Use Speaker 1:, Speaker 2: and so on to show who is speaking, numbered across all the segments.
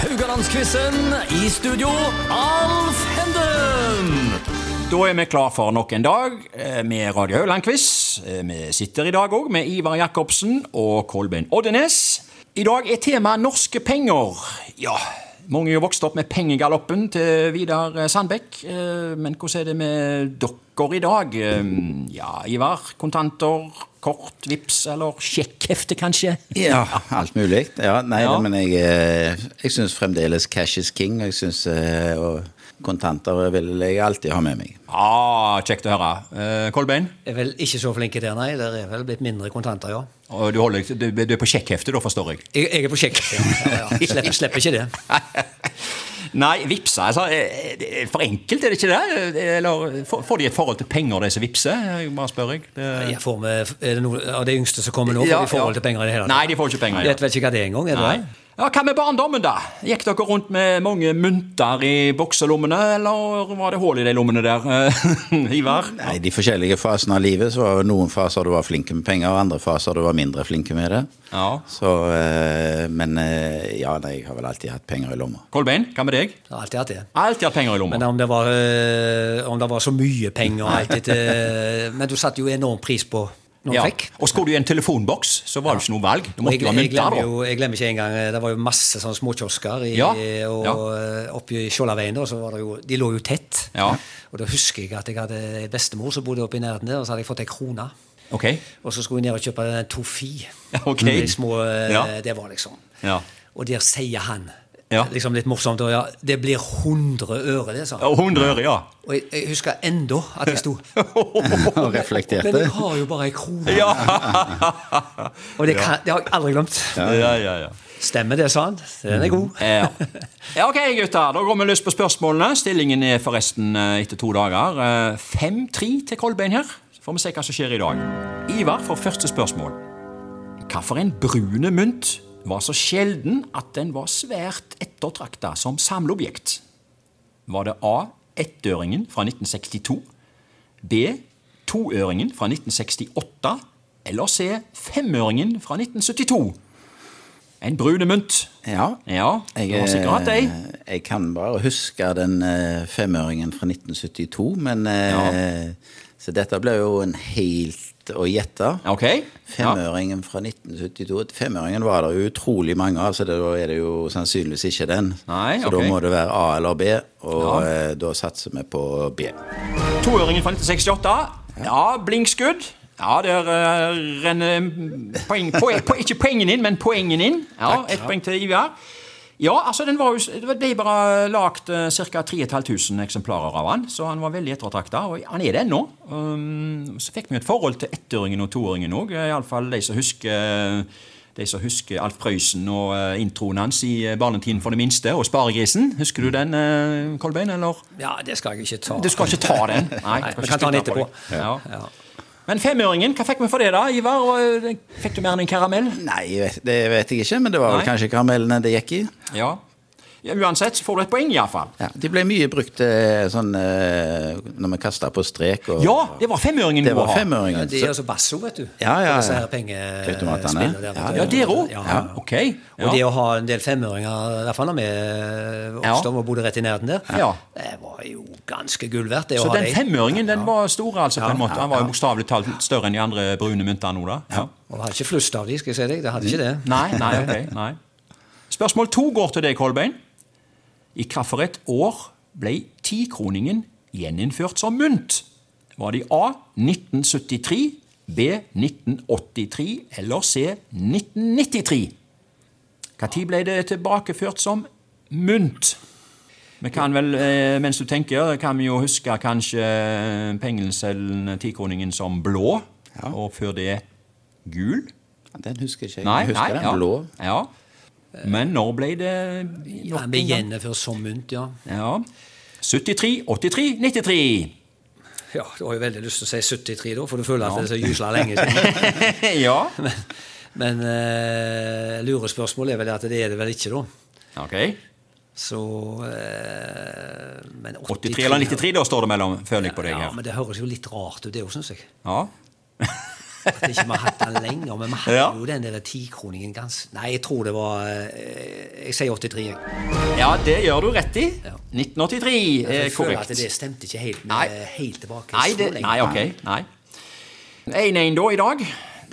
Speaker 1: Haugalandsquizen. I studio, Alf Henden.
Speaker 2: Da er vi klar for nok en dag eh, med Radio Haugland-quiz. Eh, Vi sitter i dag òg med Ivar Jacobsen og Kolbein Oddenes. I dag er temaet norske penger. Ja, mange er jo vokst opp med pengegaloppen til Vidar Sandbekk. eh, Men hvordan er det med dere i dag? Eh, Ja, Ivar. Kontanter, kort, vips eller sjekkhefte, kanskje?
Speaker 3: Ja, alt mulig. Ja, nei,
Speaker 2: Ja.
Speaker 3: men jeg, eh, jeg syns fremdeles cash is king. og Jeg synes, eh, og kontanter vil jeg alltid ha med meg.
Speaker 2: Ah, kjekt å høre. Eh, Kolbein,
Speaker 4: Er vel ikke så flink i det, nei. Det er vel blitt mindre kontanter, ja.
Speaker 2: og du, holder, du, du er på sjekkhefte, da, forstår jeg?
Speaker 4: Jeg, jeg er på sjekk. Ja, ja, ja. Slipper, slipper ikke det.
Speaker 2: Nei, vipsa altså, eh, det er For enkelt, er det ikke det? Eller får får de et forhold til penger, de som vipser? Jeg bare spør, jeg. Det-
Speaker 4: Jeg får med, er det noe av de yngste som kommer nå, får
Speaker 2: Ja,
Speaker 4: de forhold
Speaker 2: ja.
Speaker 4: til penger i det hele
Speaker 2: Nei, de får ikke penger.
Speaker 4: Vet vel ikke hva det er engang? er det
Speaker 2: Nei.
Speaker 4: det?
Speaker 2: Ja, Hva med barndommen, da? Gikk dere rundt med mange mynter i bokselommene, eller var det hull i de lommene der, eh, Ivar?
Speaker 3: Nei, I de forskjellige fasene av livet så var det noen faser du var flinke med penger, og andre faser du var mindre flinke med det.
Speaker 2: Ja.
Speaker 3: Så, eh, men eh, ja, nei, jeg har vel alltid hatt penger i lomma.
Speaker 2: Kolbein, hva med deg?
Speaker 4: Jeg har alltid hatt det.
Speaker 2: Alltid hatt penger i
Speaker 4: Men eh,
Speaker 2: lomma.
Speaker 4: om det var, øh, om det var så mye penger og alt dette øh, Men du satte jo enorm pris på når du
Speaker 2: Ja.
Speaker 4: fikk.
Speaker 2: Og skulle du i en telefonboks, så var det ikke noe valg. Du
Speaker 4: Og
Speaker 2: måtte
Speaker 4: Jeg,
Speaker 2: jo ha
Speaker 4: jeg,
Speaker 2: mynter,
Speaker 4: glemmer
Speaker 2: da.
Speaker 4: jo, jeg glemmer ikke engang øh, Det var jo masse sånne småkiosker i,
Speaker 2: Ja,
Speaker 4: og
Speaker 2: ja.
Speaker 4: øh, oppe i Skjoldaveien. da, så var det jo- De lå jo tett.
Speaker 2: Ja.
Speaker 4: Og da husker jeg at jeg hadde en bestemor som bodde oppe i nærheten der, og så hadde jeg fått ei krone.
Speaker 2: Ok.
Speaker 4: Og så skulle jeg ned og kjøpe en Tofi.
Speaker 2: Ja, ok.
Speaker 4: De små, eh,
Speaker 2: Ja.
Speaker 4: Det var liksom.
Speaker 2: Ja.
Speaker 4: Og der sier han,
Speaker 2: Ja.
Speaker 4: liksom litt morsomt, og ja, det blir 100 øre, det, sa han.
Speaker 2: Og 100 øre, ja.
Speaker 4: Og jeg, jeg husker enda at jeg sto
Speaker 3: Og
Speaker 4: Men jeg
Speaker 3: reflekterte.
Speaker 4: har jo bare ei krone.
Speaker 2: Ja.
Speaker 4: Og det, kan, det har jeg aldri glemt.
Speaker 2: ja, Mm. ja, ja.
Speaker 4: Stemmer det, sa han. Den er god.
Speaker 2: Ja. ja, ok gutter, da går vi løs på spørsmålene. Stillingen er forresten eh, etter to dager eh, 5-3 til Kolbein her. Så får vi se hva som skjer i dag. Ivar får første spørsmål. Hvilken brune mynt var så sjelden at den var svært ettertrakta som samleobjekt? Var det A. Ettøringen fra 1962? B. Toøringen fra 1968? Eller C. Femøringen fra 1972? En brune mynt.
Speaker 3: Ja.
Speaker 2: Ja,
Speaker 3: Jeg,
Speaker 2: du har sikkert hatt ei.
Speaker 3: eh, jeg kan bare huske den eh, femøringen fra 1972, men eh, Så dette ble jo en helt å gjette.
Speaker 2: Ok. Ja.
Speaker 3: Femøringen fra 1972. Femøringen var det jo utrolig mange av, så det- da er det jo sannsynligvis ikke den.
Speaker 2: Nei,
Speaker 3: så
Speaker 2: ok.
Speaker 3: da må det være A eller B, og
Speaker 2: Ja.
Speaker 3: eh, da satser vi på B.
Speaker 2: Toøringen fra 1968. Ja, blinkskudd. Ja, der eh, renner poeng, poeng, poeng, ikke poengene inn, men poengene inn. Ja, Ett poeng til Ivar. Ja, altså den var jo, s- Det ble bare lagd ca. 3500 eksemplarer av han, så han var veldig ettertrakta. Og han er det ennå. Um, så fikk vi jo et forhold til ettøringen og eh, toøringen òg. Iallfall de som husker eh, de som husker Alf Prøysen og eh, introen hans i eh, 'Barnetiden for det minste' og 'Sparegrisen'. Husker du den, eh, Kolbein? eller?
Speaker 4: Ja, det skal jeg ikke ta.
Speaker 2: Du skal ikke ta den. Nei,
Speaker 4: Nei,
Speaker 2: du skal
Speaker 4: vi
Speaker 2: ikke
Speaker 4: kan ta den
Speaker 2: spytte på
Speaker 4: etterpå.
Speaker 2: deg. Ja.
Speaker 4: Ja.
Speaker 2: Men femøringen, hva fikk vi for det, da, Ivar? Og, eh, Fikk du mer enn en karamell?
Speaker 3: Nei, jeg vet- det vet jeg ikke, men det var vel
Speaker 2: Nei.
Speaker 3: kanskje karamellene det gikk i.
Speaker 2: Ja. ja. Uansett så får du et poeng, iallfall.
Speaker 3: Ja, de ble mye brukt eh, sånn eh, når vi kasta på strek og
Speaker 2: Ja, det var femøringen
Speaker 3: Det
Speaker 2: du må ha.
Speaker 3: var
Speaker 4: Ja,
Speaker 3: femøringen.
Speaker 4: det er
Speaker 3: så-
Speaker 4: altså basso, vet du.
Speaker 3: Ja, ja,
Speaker 4: Disse
Speaker 3: ja.
Speaker 4: her pengespillene.
Speaker 3: Automatene.
Speaker 4: der, vet
Speaker 3: Ja,
Speaker 4: du.
Speaker 2: Ja, dere òg?
Speaker 4: Ja.
Speaker 2: Ok.
Speaker 4: Og det
Speaker 2: Ja.
Speaker 4: å ha en del femøringer, i hvert fall da vi eh, vokste opp og bodde rett i nærheten der,
Speaker 2: Ja.
Speaker 4: det var jo ganske gull verdt. det å
Speaker 2: Så
Speaker 4: ha
Speaker 2: den
Speaker 4: de.
Speaker 2: femøringen den var stor, altså, på en måte. Han var jo bokstavelig talt større enn de andre brune myntene nå, da. Ja.
Speaker 4: Og vi hadde ikke flust av de, skal jeg si deg. Det hadde ikke det.
Speaker 2: Nei, nei, ok. Nei. Spørsmål to går til deg, Kolbein. I hvilket år ble tikroningen gjeninnført som mynt? Var det i A 1973, B 1983 eller C 1993? Når ble det tilbakeført som mynt? Vi kan vel, eh, mens du tenker, kan vi jo huske kanskje eh, pengeseddelen, tikroningen, som blå,
Speaker 3: Ja.
Speaker 2: og før det gul.
Speaker 3: Den husker ikke jeg.
Speaker 2: Nei,
Speaker 3: jeg husker
Speaker 2: nei,
Speaker 3: den
Speaker 2: ja.
Speaker 3: blå.
Speaker 2: Ja. Men når ble det nok
Speaker 4: Han ble
Speaker 2: en gang?
Speaker 4: gjennomført som mynt, ja.
Speaker 2: Ja. 73, 83, 93.
Speaker 4: Ja, Du har jo veldig lyst til å si 73, da, for du føler at det er så gysla lenge siden.
Speaker 2: ja.
Speaker 4: Men eh, lurespørsmålet er vel at det er det vel ikke, da.
Speaker 2: Ok.
Speaker 4: Så eh, Men
Speaker 2: 83 eller 93, da står det mellom, føler jeg på deg
Speaker 4: Ja,
Speaker 2: her.
Speaker 4: men det høres jo litt rart ut, det òg, syns jeg.
Speaker 2: Ja.
Speaker 4: At ikke vi har hatt den lenger. Men vi hadde
Speaker 2: Ja.
Speaker 4: jo den der tikroningen ganske Nei, jeg tror det var eh, Jeg sier 83, jeg.
Speaker 2: Ja, det gjør du rett i.
Speaker 4: Ja.
Speaker 2: 1983 er
Speaker 4: Jeg føler at
Speaker 2: korrekt.
Speaker 4: det stemte ikke helt med
Speaker 2: Nei.
Speaker 4: helt tilbake.
Speaker 2: Nei,
Speaker 4: så
Speaker 2: det,
Speaker 4: lenge.
Speaker 2: nei, ok. Nei. 1-1 da i dag.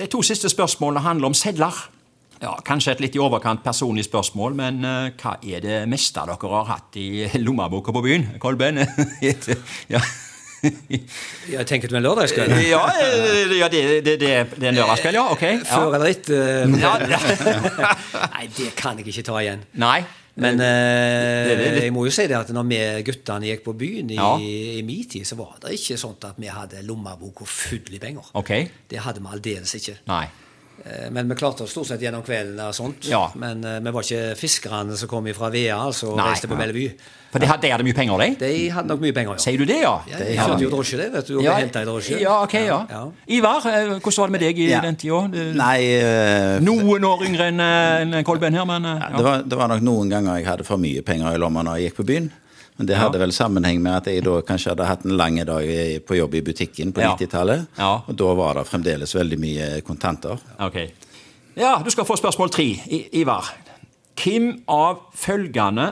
Speaker 2: De to siste spørsmålene handler om sedler. Ja, Kanskje et litt i overkant personlig spørsmål, men eh, hva er det meste dere har hatt i lommeboka på byen? Kolben? ja.
Speaker 4: Jeg tenker du en lørdagskveld?
Speaker 2: Ja, eh, ja, det, det, det, det er en lørdagskveld, ja? Ok. Ja.
Speaker 4: Før eller etter? eh,
Speaker 2: Ja.
Speaker 4: Nei, det kan jeg ikke ta igjen.
Speaker 2: Nei.
Speaker 4: Men eh,
Speaker 2: det- det- det-
Speaker 4: jeg må jo si det at når vi guttene gikk på byen i,
Speaker 2: Ja.
Speaker 4: i min tid, så var det ikke sånn at vi hadde lommeboka full i penger.
Speaker 2: Ok.
Speaker 4: Det hadde vi aldeles ikke.
Speaker 2: Nei.
Speaker 4: Eh, Men vi klarte oss stort sett gjennom kvelden og sånt.
Speaker 2: Ja.
Speaker 4: Men eh, vi var ikke fiskerne som kom fra Vea, altså og
Speaker 2: Nei.
Speaker 4: reiste på Bellevue.
Speaker 2: For de hadde, de hadde mye penger, de?
Speaker 4: De hadde nok mye penger, ja.
Speaker 2: Sier du det, ja?
Speaker 4: Ja, de kjørte jo drosje, det, vet du. Og
Speaker 2: Ja,
Speaker 4: ja. henta i drosje.
Speaker 2: ja, ok, ja.
Speaker 4: Ja.
Speaker 2: Ivar, eh, hvordan var det med deg i
Speaker 3: Ja.
Speaker 2: den tida?
Speaker 3: Nei, eh,
Speaker 2: Noen år yngre enn en Kolben her, men eh,
Speaker 3: Ja,
Speaker 2: ja.
Speaker 3: det, var, det var nok noen ganger jeg hadde for mye penger i lomma når jeg gikk på byen. Men det hadde vel sammenheng med at jeg da kanskje hadde hatt en lang dag i- på jobb i butikken på
Speaker 2: Ja.
Speaker 3: 90-tallet.
Speaker 2: Ja.
Speaker 3: Og da var det fremdeles veldig mye kontanter.
Speaker 2: Ok. Ja, du skal få spørsmål tre, I- Ivar. Hvem av følgende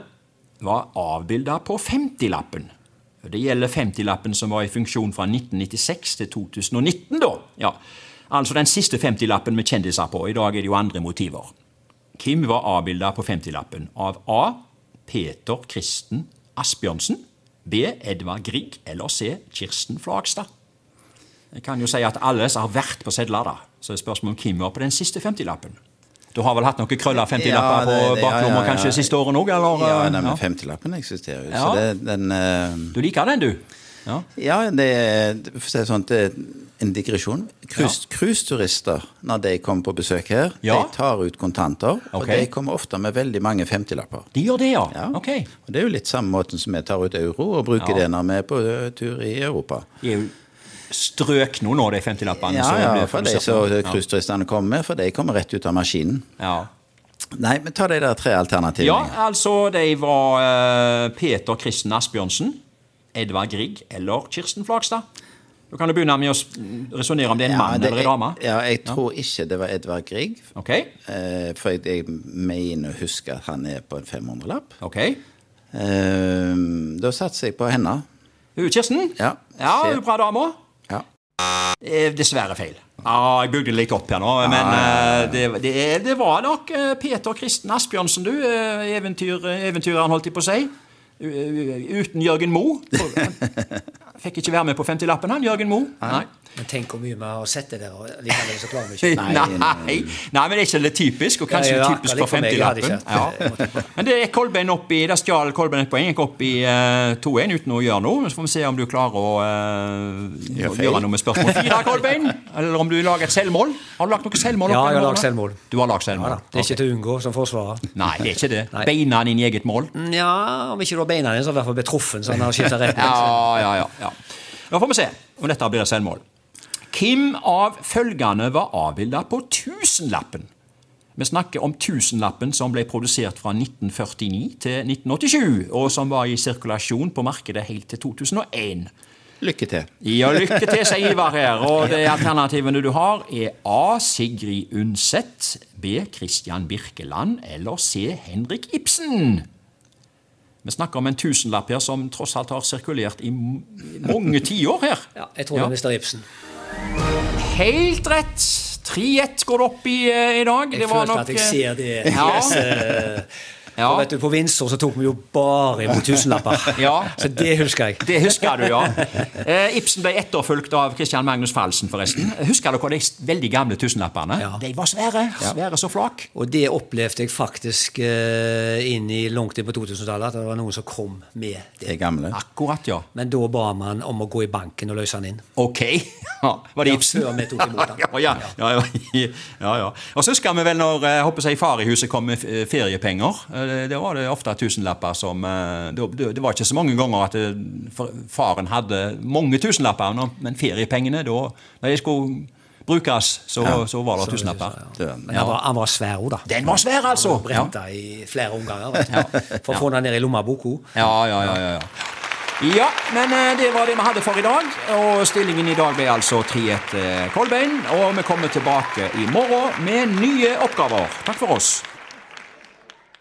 Speaker 2: var avbilda på 50-lappen? Det gjelder 50-lappen som var i funksjon fra 1996 til 2019, da. Ja. Altså den siste 50-lappen med kjendiser på. I dag er det jo andre motiver. Hvem var avbilda på 50-lappen? Av A. Peter Kristen Asbjørnsen. B. Edvard Grieg. Eller C. Kirsten Flagstad. Jeg kan jo si at alle som har vært på sedler, da, så er spørsmålet om hvem var på den siste 50-lappen. Du har vel hatt noen krølla 50-lapper
Speaker 3: Ja, det-
Speaker 2: på
Speaker 3: det- ja,
Speaker 2: baklomma
Speaker 3: ja, ja.
Speaker 2: kanskje siste året òg, eller?
Speaker 3: Ja,
Speaker 2: eh,
Speaker 3: nei, men
Speaker 2: ja.
Speaker 3: 50-lappen eksisterer jo,
Speaker 2: Ja.
Speaker 3: så det, den eh,
Speaker 2: Du liker den, du? Ja.
Speaker 3: Ja, det er for å si det sånn, det er en digresjon. Cruise- Cruiseturister, når de kommer på besøk her,
Speaker 2: Ja.
Speaker 3: de tar ut kontanter. Og
Speaker 2: Ok.
Speaker 3: de kommer ofte med veldig mange 50-lapper.
Speaker 2: De gjør det, ja?
Speaker 3: Ja.
Speaker 2: Ok.
Speaker 3: Og det er jo litt samme måten som vi tar ut euro og bruker
Speaker 2: Ja.
Speaker 3: det når vi er på ø, tur i Europa.
Speaker 2: De er jo strøkne nå, de 50-lappene.
Speaker 3: Ja,
Speaker 2: som
Speaker 3: ja,
Speaker 2: blir
Speaker 3: for de
Speaker 2: produsert
Speaker 3: som
Speaker 2: nå.
Speaker 3: cruiseturistene kommer med, for de kommer rett ut av maskinen.
Speaker 2: ja.
Speaker 3: Nei, men ta de der tre
Speaker 2: ja,
Speaker 3: alternativene.
Speaker 2: altså, de var eh, Peter Kristen Asbjørnsen, Edvard Grieg eller Kirsten Flagstad. Da kan du begynne med å resonnere om det er en mann
Speaker 3: det-
Speaker 2: eller en dame.
Speaker 3: Ja, jeg tror ikke det var Edvard Grieg.
Speaker 2: Ok,
Speaker 3: eh, For jeg, jeg mener å huske at han er på en 500-lapp.
Speaker 2: ok.
Speaker 3: Eh, Da satser jeg på henne.
Speaker 2: Hun Kirsten?
Speaker 3: Ja.
Speaker 2: Ja,
Speaker 3: Se.
Speaker 2: hun er bra dame.
Speaker 3: Ja.
Speaker 2: Eh, Dessverre feil. Ja, jeg bygde det litt opp her nå, men eh, det, det, er- det var nok eh, Peter Kristen Asbjørnsen, du. eh, Eventyr, eh, eventyreren, holdt jeg på å si. U- u- Uten Jørgen Moe. For- han Fikk ikke være med på 50-lappen, han Jørgen Moe. Nei.
Speaker 4: Men tenk hvor mye vi har sett det der, og likevel så klarer vi ikke.
Speaker 2: Nei. Nei. men det er ikke litt typisk, og kanskje
Speaker 4: Ja, ja,
Speaker 2: typisk
Speaker 4: akkurat
Speaker 2: for
Speaker 4: for meg, jeg hadde
Speaker 2: 50-lappen. Ja. Men det er Kolbein opp i, der stjal Kolbein et poeng. Gikk opp i eh, 2-1 uten å gjøre noe. Så får vi se om du klarer å eh,
Speaker 3: Gjør feil.
Speaker 2: gjøre noe med spørsmål fire, Kolbein. Eller om du lager et selvmål. Har du lagt noe selvmål?
Speaker 4: Ja,
Speaker 2: opp
Speaker 4: jeg har
Speaker 2: gjennom
Speaker 4: lagt
Speaker 2: årene?
Speaker 4: selvmål.
Speaker 2: Du har lagt
Speaker 4: Ja,
Speaker 2: selvmål?
Speaker 4: da. Det er ikke til å unngå som forsvarer.
Speaker 2: Nei, det er ikke det.
Speaker 4: Nei.
Speaker 2: Beina inn i eget mål.
Speaker 4: Ja, om ikke du har beina dine, så er du i hvert fall betruffen. Så han har skiftet rett.
Speaker 2: Ja, ja, ja, ja. Da får vi se om dette blir et selvmål. Hvem av følgende var avbilda på tusenlappen? Vi snakker om tusenlappen som ble produsert fra 1949 til 1987, og som var i sirkulasjon på markedet helt til 2001.
Speaker 3: Lykke til.
Speaker 2: Ja, lykke til, sier Ivar her. Og de alternativene du har, er A. Sigrid Undset. B. Christian Birkeland. Eller C. Henrik Ibsen. Vi snakker om en tusenlapp her som tross alt har sirkulert i m- mange tiår her.
Speaker 4: Ja, jeg tror det er Mr. Ibsen.
Speaker 2: Helt rett! 3-1 går det opp i eh, i dag.
Speaker 4: Jeg
Speaker 2: Det var
Speaker 4: følte at
Speaker 2: nok,
Speaker 4: jeg
Speaker 2: eh,
Speaker 4: ser det.
Speaker 2: Ja.
Speaker 4: Yes, eh,
Speaker 2: Ja.
Speaker 4: og vet du, På Windsor så tok vi jo bare imot tusenlapper.
Speaker 2: Ja.
Speaker 4: Så det husker jeg.
Speaker 2: Det husker du, ja. Eh, Ibsen ble etterfulgt av Christian Magnus Falsen, forresten. Husker dere de s- veldig gamle tusenlappene?
Speaker 4: Ja.
Speaker 2: De var svære. Svære som flak.
Speaker 4: Og det opplevde jeg faktisk eh, inn i langt inn på 2000-tallet, at det var noen som kom med det.
Speaker 3: De gamle.
Speaker 2: Akkurat, ja.
Speaker 4: Men da ba man om å gå i banken og løse den inn.
Speaker 2: Ok. Ja, var det
Speaker 4: Ja,
Speaker 2: Ibsen?
Speaker 4: før vi tok imot han.
Speaker 2: ja, ja, ja, ja, ja, ja. Og så husker vi vel når eh, håper jeg, far i huset kom med eh, feriepenger. Eh, Det, det var det ofte tusenlapper som eh, det, det, det var ikke så mange ganger at eh, for- faren hadde mange tusenlapper, men- men feriepengene da Når de skulle brukes, så, så var det tusenlapper.
Speaker 3: Døren.
Speaker 4: Men han var, han var svær òg, da.
Speaker 2: Den var svær, altså!
Speaker 4: Brenta i flere omganger. Vet du. For å få den ned i lommeboka.
Speaker 2: Ja, ja, ja, ja, ja. Ja, men eh, det var det vi hadde for i dag. Og stillingen i dag ble altså 3-1 til Kolbein. Og vi kommer tilbake i morgen med nye oppgaver. Takk for oss.